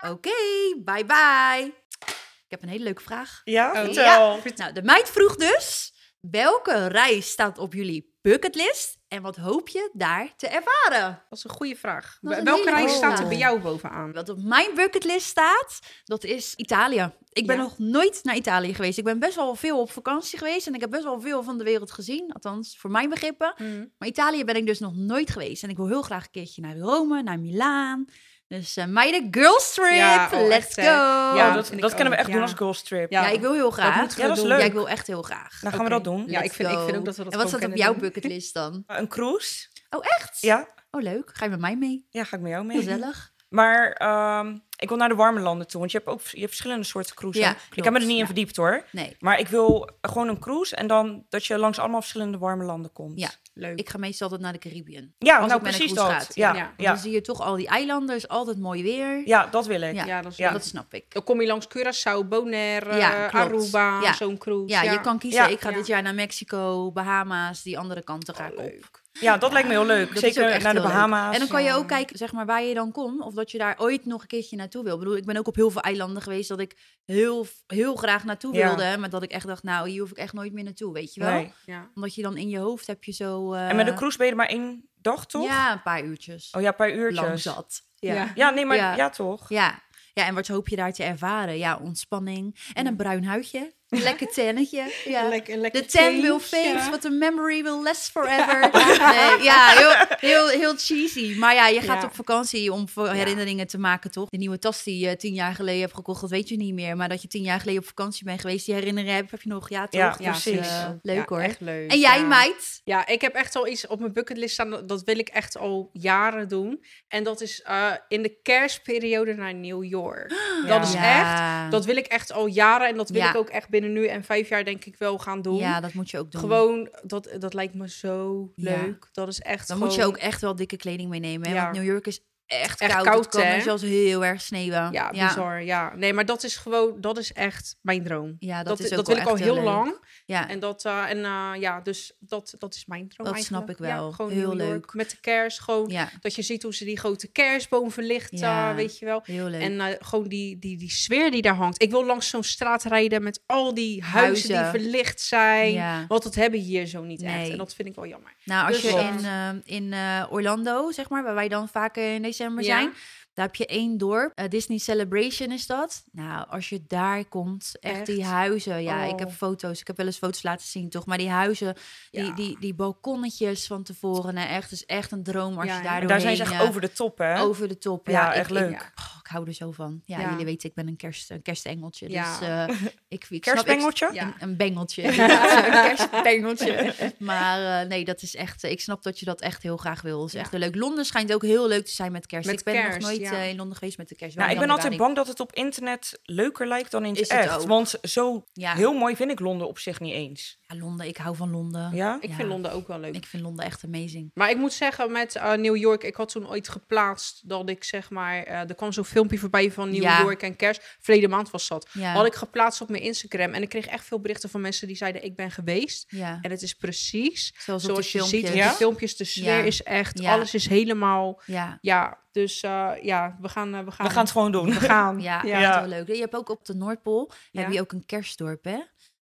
[SPEAKER 2] Oké, bye bye. Ik heb een hele leuke vraag.
[SPEAKER 3] Ja,
[SPEAKER 1] Oh,
[SPEAKER 3] vertel.
[SPEAKER 2] Nou, de meid vroeg dus: welke reis staat op jullie bucketlist en wat hoop je daar te ervaren?
[SPEAKER 1] Dat is een goede vraag.
[SPEAKER 2] Dat is een
[SPEAKER 1] Welke
[SPEAKER 2] hele
[SPEAKER 1] reis
[SPEAKER 2] goede
[SPEAKER 1] staat er bij
[SPEAKER 2] vraag.
[SPEAKER 1] jou bovenaan?
[SPEAKER 2] Wat op mijn bucketlist staat, dat is Italië. Ik ben
[SPEAKER 1] Ja.
[SPEAKER 2] nog nooit naar Italië geweest. Ik ben best wel veel op vakantie geweest en ik heb best wel veel van de wereld gezien. Althans, voor mijn begrippen. Maar Italië ben ik dus nog nooit geweest. En ik wil heel graag een keertje naar Rome, naar Milaan. Dus eh meiden, girls trip,
[SPEAKER 1] Ja, oh,
[SPEAKER 2] let's
[SPEAKER 1] echt, hè.
[SPEAKER 2] go.
[SPEAKER 3] Ja,
[SPEAKER 1] Ja,
[SPEAKER 3] dat,
[SPEAKER 1] vind
[SPEAKER 3] dat
[SPEAKER 1] ik
[SPEAKER 3] kunnen we
[SPEAKER 1] ook,
[SPEAKER 3] echt
[SPEAKER 1] ja.
[SPEAKER 3] doen als girls trip.
[SPEAKER 1] Ja.
[SPEAKER 2] Ja, ik wil heel graag.
[SPEAKER 1] moeten we
[SPEAKER 3] Ja, dat Nou,
[SPEAKER 1] doen.
[SPEAKER 3] is leuk.
[SPEAKER 2] Ja, ik wil echt heel graag.
[SPEAKER 3] Dan gaan we
[SPEAKER 1] Oké.
[SPEAKER 3] dat doen.
[SPEAKER 1] Ja,
[SPEAKER 2] Let's
[SPEAKER 1] ik vind- ik
[SPEAKER 2] go.
[SPEAKER 1] vind ook dat we dat
[SPEAKER 2] En wat
[SPEAKER 1] gewoon
[SPEAKER 2] staat op
[SPEAKER 1] kunnen
[SPEAKER 2] jouw
[SPEAKER 1] doen.
[SPEAKER 2] bucketlist dan?
[SPEAKER 3] Een cruise.
[SPEAKER 2] *laughs* Oh, echt?
[SPEAKER 3] Ja,
[SPEAKER 2] Oh, leuk. Ga je met mij mee?
[SPEAKER 3] ja, ga ik met jou mee.
[SPEAKER 2] Gezellig.
[SPEAKER 3] Maar ehm, Ik wil naar de warme landen toe, want je hebt ook je hebt verschillende soorten cruisen.
[SPEAKER 2] Ja,
[SPEAKER 3] ik
[SPEAKER 2] klopt,
[SPEAKER 3] heb me er niet in
[SPEAKER 2] ja.
[SPEAKER 3] verdiept hoor.
[SPEAKER 2] Nee.
[SPEAKER 3] Maar ik wil gewoon een cruise en dan dat je langs allemaal verschillende warme landen komt.
[SPEAKER 2] Ja.
[SPEAKER 1] Leuk.
[SPEAKER 2] Ik ga meestal altijd naar de Caribbean.
[SPEAKER 3] Ja,
[SPEAKER 2] Als
[SPEAKER 3] nou
[SPEAKER 2] ik met een
[SPEAKER 3] precies dat.
[SPEAKER 2] cruise ga,
[SPEAKER 3] Ja,
[SPEAKER 1] ja.
[SPEAKER 3] ja.
[SPEAKER 2] Want
[SPEAKER 3] Ja.
[SPEAKER 2] Dan zie je toch al die eilanden, is altijd mooi weer.
[SPEAKER 3] dat wil ik.
[SPEAKER 2] Ja.
[SPEAKER 1] ja, dat is
[SPEAKER 3] Ja.
[SPEAKER 2] Dat snap ik.
[SPEAKER 1] Dan kom je langs Curaçao, Bonaire,
[SPEAKER 2] Ja,
[SPEAKER 1] eh,
[SPEAKER 2] klopt.
[SPEAKER 1] Aruba,
[SPEAKER 2] Ja.
[SPEAKER 1] zo'n cruise.
[SPEAKER 2] Ja, je kan kiezen.
[SPEAKER 3] Ja.
[SPEAKER 2] ik ga
[SPEAKER 1] Ja. Oh,
[SPEAKER 2] dit jaar naar Mexico, Bahama's, die andere kanten ga ik op.
[SPEAKER 3] Ja, dat lijkt me heel leuk.
[SPEAKER 2] Dat is ook
[SPEAKER 3] Zeker
[SPEAKER 2] echt
[SPEAKER 3] naar de
[SPEAKER 2] heel leuk.
[SPEAKER 3] Bahama's.
[SPEAKER 2] En dan kan je
[SPEAKER 1] ja.
[SPEAKER 2] ook kijken zeg maar, waar je dan komt. Of dat je daar ooit nog een keertje naartoe wil. Ik bedoel, ik ben ook op heel veel eilanden geweest dat ik heel, heel graag naartoe
[SPEAKER 3] Ja.
[SPEAKER 2] wilde. Maar dat ik echt dacht, nou, hier hoef ik echt nooit meer naartoe, weet je wel?
[SPEAKER 3] Nee.
[SPEAKER 1] Ja.
[SPEAKER 2] Omdat je dan in je hoofd heb je zo... eh,
[SPEAKER 3] En met een cruise ben je er maar één dag, toch?
[SPEAKER 2] Ja, een paar uurtjes.
[SPEAKER 3] Oh ja, een paar uurtjes.
[SPEAKER 2] Lang zat.
[SPEAKER 1] Ja.
[SPEAKER 2] Ja.
[SPEAKER 3] Ja, nee, maar ja,
[SPEAKER 2] Ja.
[SPEAKER 3] toch?
[SPEAKER 2] ja. Ja, en wat hoop je daar te ervaren? Ja, ontspanning. En een bruin huidje. Een lekker tennetje. Ja.
[SPEAKER 1] Lekker,
[SPEAKER 2] De ten will fades, but the memory will last
[SPEAKER 1] *laughs*
[SPEAKER 2] forever. Nee, ja, heel, heel, heel cheesy. Maar ja, je gaat
[SPEAKER 1] Ja.
[SPEAKER 2] op vakantie om voor herinneringen te maken, toch? De nieuwe tas die je tien jaar geleden hebt gekocht, dat weet je niet meer. Maar dat je tien jaar geleden op vakantie bent geweest, die herinneringen heb, heb je nog. Ja, toch?
[SPEAKER 3] Ja,
[SPEAKER 2] Dus,
[SPEAKER 3] precies.
[SPEAKER 2] eh, leuk hoor.
[SPEAKER 1] Echt leuk.
[SPEAKER 2] En jij,
[SPEAKER 1] ja.
[SPEAKER 2] meid?
[SPEAKER 1] Ja, ik heb echt al iets op mijn bucketlist staan. dat- Dat wil ik echt al jaren doen. En dat is eh, in de kerstperiode naar New
[SPEAKER 2] *gasps*
[SPEAKER 1] York. Dat is
[SPEAKER 2] Ja.
[SPEAKER 1] echt. Dat wil ik echt al jaren. En dat wil
[SPEAKER 2] Ja.
[SPEAKER 1] ik ook echt binnen nu en vijf jaar denk ik wel gaan doen.
[SPEAKER 2] Ja, dat moet je ook doen.
[SPEAKER 1] Gewoon, dat, dat lijkt me zo
[SPEAKER 2] Ja.
[SPEAKER 1] leuk. Dat is echt
[SPEAKER 2] Dan
[SPEAKER 1] gewoon...
[SPEAKER 2] moet je ook echt wel dikke kleding meenemen. hè?
[SPEAKER 1] Ja.
[SPEAKER 2] Want New York is echt,
[SPEAKER 1] Echt
[SPEAKER 2] koud.
[SPEAKER 1] koud,
[SPEAKER 2] het kan
[SPEAKER 1] hè?
[SPEAKER 2] er zelfs heel erg sneeuwen.
[SPEAKER 1] Ja, bizar. Ja. Nee, maar dat is gewoon... Dat is echt mijn droom.
[SPEAKER 2] Ja, dat,
[SPEAKER 1] Dat,
[SPEAKER 2] is ook
[SPEAKER 1] dat,
[SPEAKER 2] wel
[SPEAKER 1] wil ik
[SPEAKER 2] echt
[SPEAKER 1] al heel
[SPEAKER 2] leuk.
[SPEAKER 1] lang.
[SPEAKER 2] Ja.
[SPEAKER 1] En dat, eh, en eh, ja, dus dat, dat is mijn droom.
[SPEAKER 2] Dat
[SPEAKER 1] eigenlijk.
[SPEAKER 2] snap ik
[SPEAKER 1] Ja,
[SPEAKER 2] wel.
[SPEAKER 1] gewoon
[SPEAKER 2] Heel
[SPEAKER 1] New York
[SPEAKER 2] leuk.
[SPEAKER 1] Met de kerst, gewoon
[SPEAKER 2] ja,
[SPEAKER 1] dat je ziet hoe ze die grote kerstboom verlicht,
[SPEAKER 2] Ja,
[SPEAKER 1] eh, weet je wel.
[SPEAKER 2] heel leuk.
[SPEAKER 1] En eh, gewoon die, die, die sfeer die daar hangt. Ik wil langs zo'n straat rijden met al die huizen,
[SPEAKER 2] Huizen.
[SPEAKER 1] die verlicht zijn.
[SPEAKER 2] ja.
[SPEAKER 1] Want dat hebben we hier zo niet echt.
[SPEAKER 2] Nee.
[SPEAKER 1] En dat vind ik wel jammer.
[SPEAKER 2] Nou, als
[SPEAKER 1] Dus
[SPEAKER 2] je
[SPEAKER 1] dat.
[SPEAKER 2] in, ehm, in eh, Orlando, zeg maar, waar wij dan vaker in december
[SPEAKER 1] Ja.
[SPEAKER 2] zijn, daar heb je één dorp. eh, Disney Celebration is dat. Nou, als je daar komt, echt,
[SPEAKER 1] Echt?
[SPEAKER 2] die huizen. Ja, ik heb
[SPEAKER 1] Oh.
[SPEAKER 2] foto's. Ik heb wel eens foto's laten zien, toch? Maar die huizen, die,
[SPEAKER 1] Ja.
[SPEAKER 2] die, die balkonnetjes van tevoren. Nou, echt, is echt een droom als
[SPEAKER 1] Ja,
[SPEAKER 2] je
[SPEAKER 1] hè?
[SPEAKER 2] daar
[SPEAKER 1] En
[SPEAKER 3] En daar zijn ze
[SPEAKER 2] doorheen,
[SPEAKER 3] echt
[SPEAKER 2] eh,
[SPEAKER 3] over de top, hè?
[SPEAKER 2] over de top. Ja,
[SPEAKER 3] Ja,
[SPEAKER 2] ik-
[SPEAKER 3] echt
[SPEAKER 2] ik,
[SPEAKER 3] leuk.
[SPEAKER 1] Ja.
[SPEAKER 2] oh, ik hou er zo van. Ja,
[SPEAKER 1] Ja.
[SPEAKER 2] jullie weten, ik ben een, kerst, een kerstengeltje.
[SPEAKER 1] Ja.
[SPEAKER 2] Dus eh, ik, ik snap- ik,
[SPEAKER 3] Kerstbengeltje?
[SPEAKER 1] Ja.
[SPEAKER 2] een, een bengeltje. een kerstbengeltje. *laughs* Maar eh, nee, dat is echt... eh, ik snap dat je dat echt heel graag wil. Dat is
[SPEAKER 1] Ja.
[SPEAKER 2] echt heel leuk. Londen schijnt ook heel leuk te zijn met kerst.
[SPEAKER 1] Met
[SPEAKER 2] ik ben nog
[SPEAKER 1] kerst,
[SPEAKER 2] nooit
[SPEAKER 1] ja.
[SPEAKER 2] eh, in Londen geweest met de kerst. Wel
[SPEAKER 3] Nou, ik
[SPEAKER 2] in
[SPEAKER 3] ben altijd
[SPEAKER 2] januari.
[SPEAKER 3] bang dat het op internet leuker lijkt dan in het
[SPEAKER 2] Is het
[SPEAKER 3] echt.
[SPEAKER 2] ook.
[SPEAKER 3] Want zo
[SPEAKER 2] Ja.
[SPEAKER 3] heel mooi vind ik Londen op zich niet eens.
[SPEAKER 2] Ja, Londen. Oh. Ik hou van Londen.
[SPEAKER 3] Ja?
[SPEAKER 1] Ik
[SPEAKER 2] Ja.
[SPEAKER 1] vind Londen ook wel leuk.
[SPEAKER 2] Ik vind Londen echt amazing.
[SPEAKER 1] Maar ik moet zeggen, met eh, New York, ik had toen ooit geplaatst dat ik zeg maar, eh, er kwam zo'n filmpje voorbij van New
[SPEAKER 2] Ja.
[SPEAKER 1] York en kerst. Verleden maand was dat.
[SPEAKER 2] Ja.
[SPEAKER 1] Had ik geplaatst op mijn Instagram en ik kreeg echt veel berichten van mensen die zeiden ik ben geweest.
[SPEAKER 2] Ja.
[SPEAKER 1] En het is precies
[SPEAKER 2] Zoals, op
[SPEAKER 1] zoals
[SPEAKER 2] de
[SPEAKER 1] je ziet in
[SPEAKER 2] filmpjes.
[SPEAKER 1] de
[SPEAKER 3] Ja?
[SPEAKER 1] filmpjes. De sfeer
[SPEAKER 2] Ja.
[SPEAKER 1] is echt,
[SPEAKER 2] Ja.
[SPEAKER 1] alles is helemaal,
[SPEAKER 2] Ja.
[SPEAKER 1] ja. Dus eh, ja, we gaan, eh, we gaan,
[SPEAKER 3] We gaan het gewoon doen.
[SPEAKER 1] we gaan.
[SPEAKER 2] Ja,
[SPEAKER 3] Ja.
[SPEAKER 2] echt heel leuk. Je hebt ook op de Noordpool
[SPEAKER 1] Ja.
[SPEAKER 2] heb je ook een kerstdorp, hè?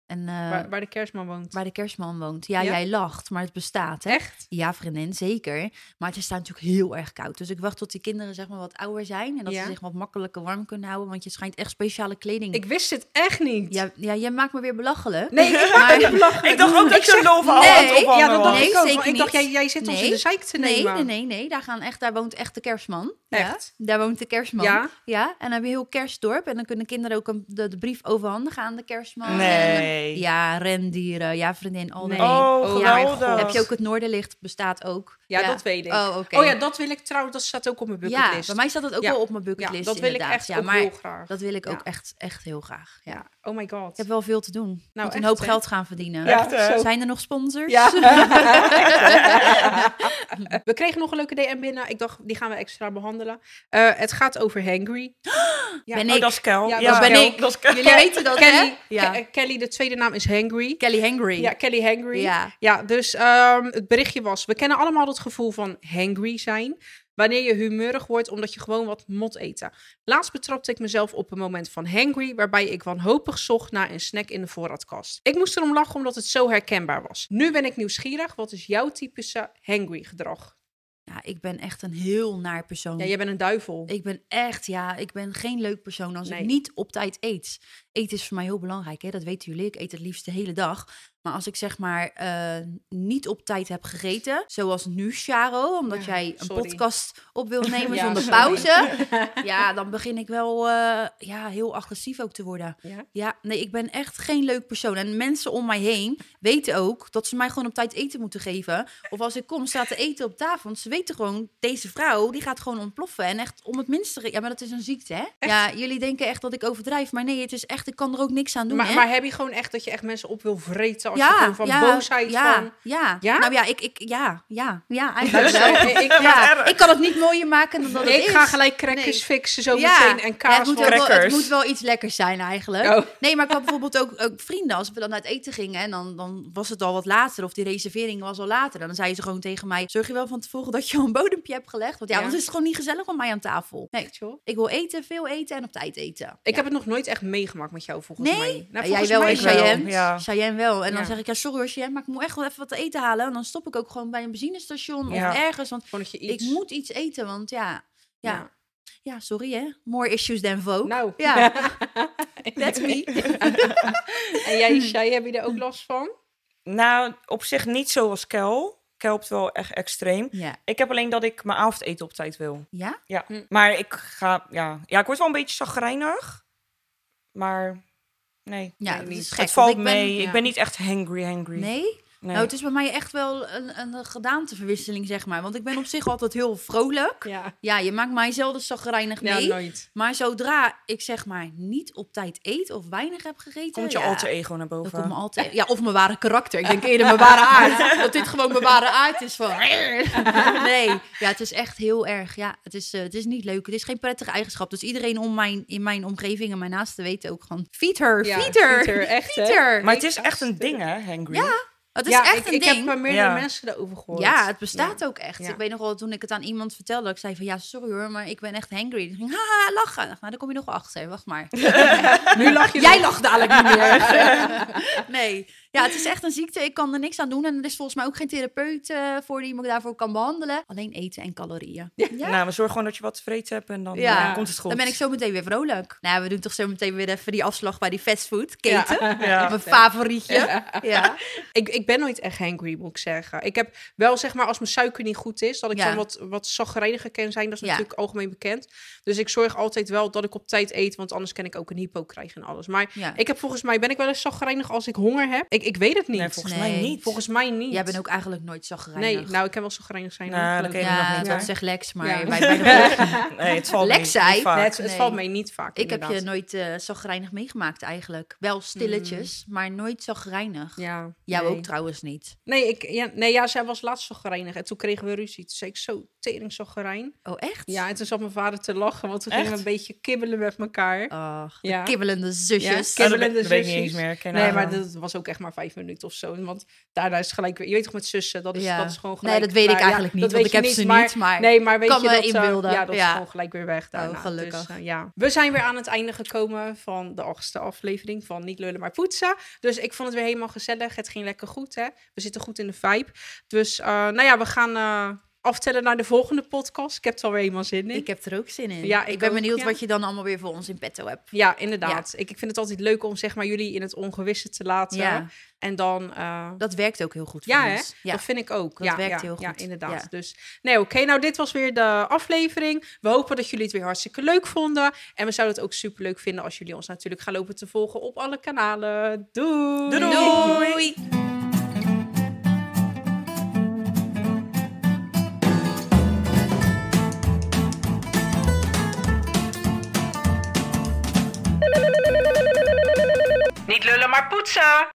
[SPEAKER 2] En, eh,
[SPEAKER 1] Waar,
[SPEAKER 2] waar,
[SPEAKER 1] waar de kerstman woont.
[SPEAKER 2] de kerstman woont. Ja,
[SPEAKER 1] Ja.
[SPEAKER 2] jij lacht, maar het bestaat, hè?
[SPEAKER 1] Echt?
[SPEAKER 2] Ja, vriendin, zeker. Maar het is daar natuurlijk heel erg koud. Dus ik wacht tot die kinderen zeg maar wat ouder zijn. En dat
[SPEAKER 1] Ja.
[SPEAKER 2] ze zich wat makkelijker warm kunnen houden. Want je schijnt echt speciale kleding.
[SPEAKER 1] Ik wist het echt niet.
[SPEAKER 2] Ja, ja, jij maakt me weer belachelijk. *laughs*
[SPEAKER 1] Nee, ik
[SPEAKER 2] Maar-
[SPEAKER 1] ben niet belachelijk.
[SPEAKER 3] *laughs* Ik dacht ook dat ik zo'n love al aan het
[SPEAKER 2] Nee,
[SPEAKER 3] ophangen
[SPEAKER 1] Ja, dat
[SPEAKER 3] was.
[SPEAKER 1] dacht
[SPEAKER 2] Nee,
[SPEAKER 1] ik ook.
[SPEAKER 2] zeker
[SPEAKER 1] want Ik dacht,
[SPEAKER 2] niet.
[SPEAKER 1] jij, jij zit ons
[SPEAKER 2] Nee.
[SPEAKER 1] in de zeik te
[SPEAKER 2] Nee,
[SPEAKER 1] nemen.
[SPEAKER 2] nee, nee, nee. Daar, gaan echt, daar woont echt de kerstman.
[SPEAKER 1] Echt?
[SPEAKER 2] Ja, daar woont de kerstman.
[SPEAKER 1] Ja?
[SPEAKER 2] ja. En dan heb je heel kerstdorp. En dan kunnen kinderen ook een, de, de brief overhandigen aan de kerstman. En,
[SPEAKER 3] Nee.
[SPEAKER 2] ja, rendieren. Ja, vriendin, al
[SPEAKER 1] Nee.
[SPEAKER 3] Oh,
[SPEAKER 1] Oh,
[SPEAKER 2] ja.
[SPEAKER 3] geweldig.
[SPEAKER 2] Heb je ook het Noorderlicht? Bestaat ook.
[SPEAKER 1] Ja, dat weet ik.
[SPEAKER 2] Oh, oké.
[SPEAKER 1] Oh ja, dat wil ik trouwens. Dat staat ook op mijn
[SPEAKER 2] Ja,
[SPEAKER 1] bucketlist.
[SPEAKER 2] bij mij staat dat ook
[SPEAKER 1] Ja.
[SPEAKER 2] wel op mijn bucketlist.
[SPEAKER 1] Ja, dat wil ik
[SPEAKER 2] inderdaad.
[SPEAKER 1] echt
[SPEAKER 2] ja,
[SPEAKER 1] ook
[SPEAKER 2] maar
[SPEAKER 1] heel graag.
[SPEAKER 2] Dat wil ik ook
[SPEAKER 1] Ja.
[SPEAKER 2] echt, echt heel graag. Ja.
[SPEAKER 1] Ja. Oh my god.
[SPEAKER 2] Ik heb wel veel te doen. Ik moet een
[SPEAKER 1] echt,
[SPEAKER 2] hoop
[SPEAKER 1] hè?
[SPEAKER 2] geld gaan verdienen.
[SPEAKER 3] Ja, echt, hè?
[SPEAKER 2] Zijn er nog sponsors?
[SPEAKER 1] Ja. *laughs* Eh, we kregen nog een leuke DM binnen. Ik dacht, die gaan we extra behandelen. Eh, het gaat over
[SPEAKER 2] *gasps*
[SPEAKER 1] hangry. Ja.
[SPEAKER 2] Ben
[SPEAKER 3] Oh,
[SPEAKER 2] ik.
[SPEAKER 3] dat is Kel.
[SPEAKER 1] Ja,
[SPEAKER 3] Ja,
[SPEAKER 1] dat
[SPEAKER 2] ben
[SPEAKER 3] Kel.
[SPEAKER 2] ik.
[SPEAKER 3] Dat is Kel.
[SPEAKER 2] Jullie weten dat,
[SPEAKER 1] Kelly,
[SPEAKER 2] hè? Ja.
[SPEAKER 1] Ke- eh, Kelly, de tweede naam is hangry.
[SPEAKER 2] *laughs* Kelly Hangry.
[SPEAKER 1] Ja, Kelly hangry.
[SPEAKER 2] Ja.
[SPEAKER 1] Ja, dus ehm, het berichtje was: We kennen allemaal het gevoel van hangry zijn. Wanneer je humeurig wordt omdat je gewoon wat mot eten. Laatst betrapte ik mezelf op een moment van hangry, waarbij ik wanhopig zocht naar een snack in de voorraadkast. Ik moest erom lachen omdat het zo herkenbaar was. Nu ben ik nieuwsgierig. Wat is jouw typische hangry gedrag?
[SPEAKER 2] Ja, ik ben echt een heel naar persoon.
[SPEAKER 1] Ja, jij bent een duivel.
[SPEAKER 2] Ik ben echt, ja, ik ben geen leuk persoon als
[SPEAKER 1] Nee.
[SPEAKER 2] ik niet op tijd eet. Eten is voor mij heel belangrijk, hè? dat weten jullie. Ik eet het liefst de hele dag. Maar als ik zeg maar eh, niet op tijd heb gegeten, zoals nu, Charo, omdat
[SPEAKER 1] Ja,
[SPEAKER 2] jij een
[SPEAKER 1] sorry.
[SPEAKER 2] podcast
[SPEAKER 1] *laughs*
[SPEAKER 2] op wil nemen
[SPEAKER 1] Ja,
[SPEAKER 2] zonder
[SPEAKER 1] sorry. *laughs*
[SPEAKER 2] pauze, ja, dan begin ik wel eh, ja, heel agressief ook te worden.
[SPEAKER 1] Ja.
[SPEAKER 2] Ja, nee, ik ben echt geen leuk persoon. En mensen om mij heen weten ook dat ze mij gewoon op tijd eten moeten geven. Of als ik kom, staat er eten op tafel. Want ze weten gewoon, deze vrouw, die gaat gewoon ontploffen. En echt om het minste... Ja, maar dat is een ziekte, hè? Ja, jullie denken echt dat ik overdrijf. Maar nee, het is echt, ik kan er ook niks aan doen,
[SPEAKER 1] maar,
[SPEAKER 2] hè?
[SPEAKER 1] maar heb je gewoon echt dat je echt mensen op wil vreten als je gewoon van boosheid
[SPEAKER 2] ja,
[SPEAKER 1] van...
[SPEAKER 2] Ja,
[SPEAKER 1] Ja?
[SPEAKER 2] Nou ja, ik, ik, ja, ja,
[SPEAKER 1] *laughs*
[SPEAKER 2] ja, eigenlijk
[SPEAKER 1] Luister,
[SPEAKER 2] wel.
[SPEAKER 1] ik, ik,
[SPEAKER 2] Ja, ik kan het niet mooier maken dan dat het
[SPEAKER 1] ik
[SPEAKER 2] is.
[SPEAKER 1] ga
[SPEAKER 2] *laughs*
[SPEAKER 1] gelijk crackers
[SPEAKER 2] Nee.
[SPEAKER 1] fixen zo
[SPEAKER 2] Ja.
[SPEAKER 1] meteen en
[SPEAKER 2] Ja,
[SPEAKER 1] kaas.
[SPEAKER 2] het, moet
[SPEAKER 1] van-
[SPEAKER 2] wel, het
[SPEAKER 3] Crackers.
[SPEAKER 2] moet wel iets lekkers zijn eigenlijk.
[SPEAKER 1] Oh.
[SPEAKER 2] Nee, maar ik had bijvoorbeeld ook, ook vrienden. Als we dan uit eten gingen en dan, dan was het al wat later. Of die reservering was al later. Dan zei ze gewoon tegen mij... Zorg je wel van tevoren dat je al een bodempje hebt gelegd? Want
[SPEAKER 1] Ja.
[SPEAKER 2] ja, anders is het gewoon niet gezellig om mij aan tafel. Nee,
[SPEAKER 1] Joh.
[SPEAKER 2] ik wil eten, veel eten en op tijd eten.
[SPEAKER 1] Ik
[SPEAKER 2] Ja.
[SPEAKER 1] heb het nog nooit echt meegemaakt met jou, volgens
[SPEAKER 2] Nee?
[SPEAKER 1] mij. Nou,
[SPEAKER 2] Ja, jij
[SPEAKER 1] volgens
[SPEAKER 2] wel,
[SPEAKER 1] mij
[SPEAKER 2] en
[SPEAKER 3] ik wel.
[SPEAKER 2] Cheyenne.
[SPEAKER 3] Ja.
[SPEAKER 2] Cheyenne wel. En dan
[SPEAKER 1] Ja.
[SPEAKER 2] zeg ik, ja, sorry hoor, Cheyenne, maar ik moet echt wel even wat te eten halen. En dan stop ik ook gewoon bij een benzinestation
[SPEAKER 3] Ja.
[SPEAKER 2] of ergens. Want
[SPEAKER 1] Gewoon dat je iets...
[SPEAKER 2] ik moet iets eten, want ja, ja, ja.
[SPEAKER 1] Ja.
[SPEAKER 2] sorry hè. More issues than vogue.
[SPEAKER 1] Nou.
[SPEAKER 2] Ja,
[SPEAKER 1] *laughs*
[SPEAKER 2] that's me.
[SPEAKER 1] En jij, Shai, heb je er ook last van?
[SPEAKER 3] Nou, op zich niet zoals Kel. Kel helpt wel echt extreem.
[SPEAKER 2] Ja.
[SPEAKER 3] Ik heb alleen dat ik mijn avondeten op tijd wil.
[SPEAKER 2] Ja?
[SPEAKER 3] Ja,
[SPEAKER 1] Hm.
[SPEAKER 3] maar ik ga... Ja. ja, ik word wel een beetje zagrijnig. Maar nee,
[SPEAKER 2] Ja,
[SPEAKER 1] Nee,
[SPEAKER 2] dat
[SPEAKER 1] niet.
[SPEAKER 2] is
[SPEAKER 1] Het
[SPEAKER 2] gek.
[SPEAKER 3] het
[SPEAKER 2] want
[SPEAKER 3] valt
[SPEAKER 2] ik ben-
[SPEAKER 3] mee.
[SPEAKER 1] ja.
[SPEAKER 3] Ik ben niet echt hangry, hangry.
[SPEAKER 2] Nee?
[SPEAKER 3] Nee.
[SPEAKER 2] Nou, het is bij mij echt wel een, een gedaanteverwisseling, zeg maar. Want ik ben op zich altijd heel vrolijk.
[SPEAKER 1] Ja.
[SPEAKER 2] Ja, je maakt mij zelden chagrijnig
[SPEAKER 1] Ja,
[SPEAKER 2] mee.
[SPEAKER 1] Nou, nooit.
[SPEAKER 2] maar zodra ik zeg maar niet op tijd eet of weinig heb gegeten...
[SPEAKER 3] Komt je
[SPEAKER 2] ja,
[SPEAKER 3] alter ego naar
[SPEAKER 2] Dan
[SPEAKER 3] boven.
[SPEAKER 2] komt mijn alter- e- ja, of mijn ware karakter. Ik denk eerder mijn ware aard. Dat dit gewoon mijn ware aard is van... *laughs* Nee, ja, het is echt heel erg. Ja, het is, eh, het is niet leuk. Het is geen prettige eigenschap. Dus iedereen om mijn, in mijn omgeving en mijn naasten weten ook gewoon... Feed her,
[SPEAKER 1] Ja,
[SPEAKER 2] feed her,
[SPEAKER 1] feed her, echt, hè?
[SPEAKER 2] *laughs* feed her.
[SPEAKER 3] Maar het is echt een ding, hè, hangry? Ja.
[SPEAKER 2] Het is
[SPEAKER 1] ja,
[SPEAKER 2] echt
[SPEAKER 1] ik,
[SPEAKER 2] een
[SPEAKER 1] ik
[SPEAKER 2] ding.
[SPEAKER 1] heb maar meerdere
[SPEAKER 3] Ja.
[SPEAKER 1] mensen erover gehoord.
[SPEAKER 2] Ja, het bestaat ook echt.
[SPEAKER 1] Ja.
[SPEAKER 2] Ik weet nog wel, toen ik het aan iemand vertelde, ik zei van ja, sorry hoor, maar ik ben echt hangry. Die ging haha, lachen. Ik dacht, Nou, daar kom je nog wel achter, wacht
[SPEAKER 1] *laughs*
[SPEAKER 2] maar.
[SPEAKER 1] Nu lach je
[SPEAKER 2] Jij lacht dadelijk niet meer. *laughs* nee. Ja, het is echt een ziekte. Ik kan er niks aan doen. En er is volgens mij ook geen therapeut eh, voor die me daarvoor kan behandelen. Alleen eten en calorieën. Ja.
[SPEAKER 3] Nou, maar zorg gewoon dat je wat tevreden hebt en dan
[SPEAKER 2] Ja.
[SPEAKER 3] eh, komt het goed.
[SPEAKER 2] Dan ben ik zo meteen weer vrolijk. Nou, we doen toch zo meteen weer even die afslag bij die fastfoodketen.
[SPEAKER 3] Ja.
[SPEAKER 2] Mijn favorietje. Ja.
[SPEAKER 1] Ik, ik ben nooit echt hangry, moet ik zeggen. Ik heb wel, zeg maar, als mijn suiker niet goed is, dat ik
[SPEAKER 2] Ja.
[SPEAKER 1] dan wat, wat zagrijniger kan zijn. Dat is
[SPEAKER 2] Ja.
[SPEAKER 1] natuurlijk algemeen bekend. Dus ik zorg altijd wel dat ik op tijd eet, want anders kan ik ook een hypo krijgen en alles. Maar
[SPEAKER 2] Ja.
[SPEAKER 1] ik heb volgens mij, ben ik wel eens zagrijnig als ik honger heb? Ik, ik weet het niet.
[SPEAKER 3] Nee,
[SPEAKER 1] volgens,
[SPEAKER 3] volgens
[SPEAKER 2] Nee.
[SPEAKER 3] mij niet.
[SPEAKER 1] mij niet.
[SPEAKER 2] Jij bent ook eigenlijk nooit chagrijnig.
[SPEAKER 1] Nee, nou, ik kan wel zagrijnig zijn.
[SPEAKER 3] Nou,
[SPEAKER 1] hoor,
[SPEAKER 3] dat
[SPEAKER 1] gelukkig.
[SPEAKER 3] ken je nog
[SPEAKER 2] ja,
[SPEAKER 3] niet,
[SPEAKER 2] dat
[SPEAKER 3] hoor.
[SPEAKER 2] zegt Lex, maar
[SPEAKER 1] Ja.
[SPEAKER 2] wij zijn
[SPEAKER 1] *laughs*
[SPEAKER 2] nog
[SPEAKER 3] Nee, het valt
[SPEAKER 2] Lex
[SPEAKER 3] mee.
[SPEAKER 2] zei-
[SPEAKER 3] Niet vaak.
[SPEAKER 1] Nee, het, het
[SPEAKER 2] Nee.
[SPEAKER 1] valt mij niet vaak,
[SPEAKER 2] Ik heb je
[SPEAKER 1] inderdaad.
[SPEAKER 2] nooit eh zagrijnig meegemaakt eigenlijk. Wel stilletjes, maar nooit zagrijnig.
[SPEAKER 1] Ja,
[SPEAKER 2] Jou
[SPEAKER 1] nee.
[SPEAKER 2] ook trouwens niet.
[SPEAKER 1] Nee, ik, ja, nee ja, zij was laatst zagrijnig en toen kregen we ruzie. Toen zei ik zo, tering zagrijn.
[SPEAKER 2] Oh, echt?
[SPEAKER 1] Ja, en toen zat mijn vader te lachen, want toen
[SPEAKER 3] Echt?
[SPEAKER 1] gingen we een beetje kibbelen met elkaar.
[SPEAKER 2] Oh, Ach, de
[SPEAKER 1] Ja.
[SPEAKER 2] kibbelende zusjes.
[SPEAKER 1] Ja,
[SPEAKER 3] Ja, Nou, dat
[SPEAKER 1] Kibbelende
[SPEAKER 3] weet- dat weet ik niet
[SPEAKER 1] zusjes.
[SPEAKER 3] eens meer. Geen
[SPEAKER 1] Nee,
[SPEAKER 3] idee.
[SPEAKER 1] maar dat was ook echt maar vijf minuten of zo. Want daarna is het gelijk weer... Je weet toch met zussen, dat is,
[SPEAKER 2] Ja.
[SPEAKER 1] dat is gewoon
[SPEAKER 2] Nee,
[SPEAKER 1] gelijk...
[SPEAKER 2] dus dat weet ik
[SPEAKER 1] klaar.
[SPEAKER 2] eigenlijk niet,
[SPEAKER 1] dat
[SPEAKER 2] want
[SPEAKER 1] weet
[SPEAKER 2] ik
[SPEAKER 1] je
[SPEAKER 2] heb ze niet, maar
[SPEAKER 1] nee, maar weet
[SPEAKER 2] kan
[SPEAKER 1] je
[SPEAKER 2] me
[SPEAKER 1] dat, eh,
[SPEAKER 2] inbeelden.
[SPEAKER 1] ja, dat
[SPEAKER 2] Ja.
[SPEAKER 1] is gewoon gelijk weer weg daarna.
[SPEAKER 2] Oh, gelukkig.
[SPEAKER 1] Dus, eh, ja. We zijn weer aan het einde gekomen van de achtste aflevering van Niet Lullen Maar Poetsen. Dus ik vond het weer helemaal gezellig. Het ging lekker goed, hè. We zitten goed in de vibe. Dus, eh, nou ja, we gaan eh, aftellen naar de volgende podcast. Ik heb het alweer helemaal zin in.
[SPEAKER 2] Ik heb er ook zin in.
[SPEAKER 1] Ja,
[SPEAKER 2] ik,
[SPEAKER 1] ik
[SPEAKER 2] ben
[SPEAKER 1] ook,
[SPEAKER 2] benieuwd
[SPEAKER 1] ja.
[SPEAKER 2] wat je dan allemaal weer voor ons in petto hebt.
[SPEAKER 1] Ja, inderdaad. Ik, ik vind het altijd leuk om zeg maar, jullie in het ongewisse te laten.
[SPEAKER 2] Ja.
[SPEAKER 1] En dan... eh,
[SPEAKER 2] Dat werkt ook heel goed voor
[SPEAKER 1] ja, hè?
[SPEAKER 2] ons. Ja,
[SPEAKER 1] dat vind ik ook.
[SPEAKER 2] Dat
[SPEAKER 1] ja,
[SPEAKER 2] werkt
[SPEAKER 1] ja,
[SPEAKER 2] heel
[SPEAKER 1] Ja,
[SPEAKER 2] goed.
[SPEAKER 1] inderdaad.
[SPEAKER 2] Ja.
[SPEAKER 1] Dus nee, oké. Nou, dit was weer de aflevering. We hopen dat jullie het weer hartstikke leuk vonden. En we zouden het ook super leuk vinden als jullie ons natuurlijk gaan lopen te volgen op alle kanalen. Doei!
[SPEAKER 3] Doei, doei!
[SPEAKER 2] Doei.
[SPEAKER 1] Niet lullen, maar poetsen!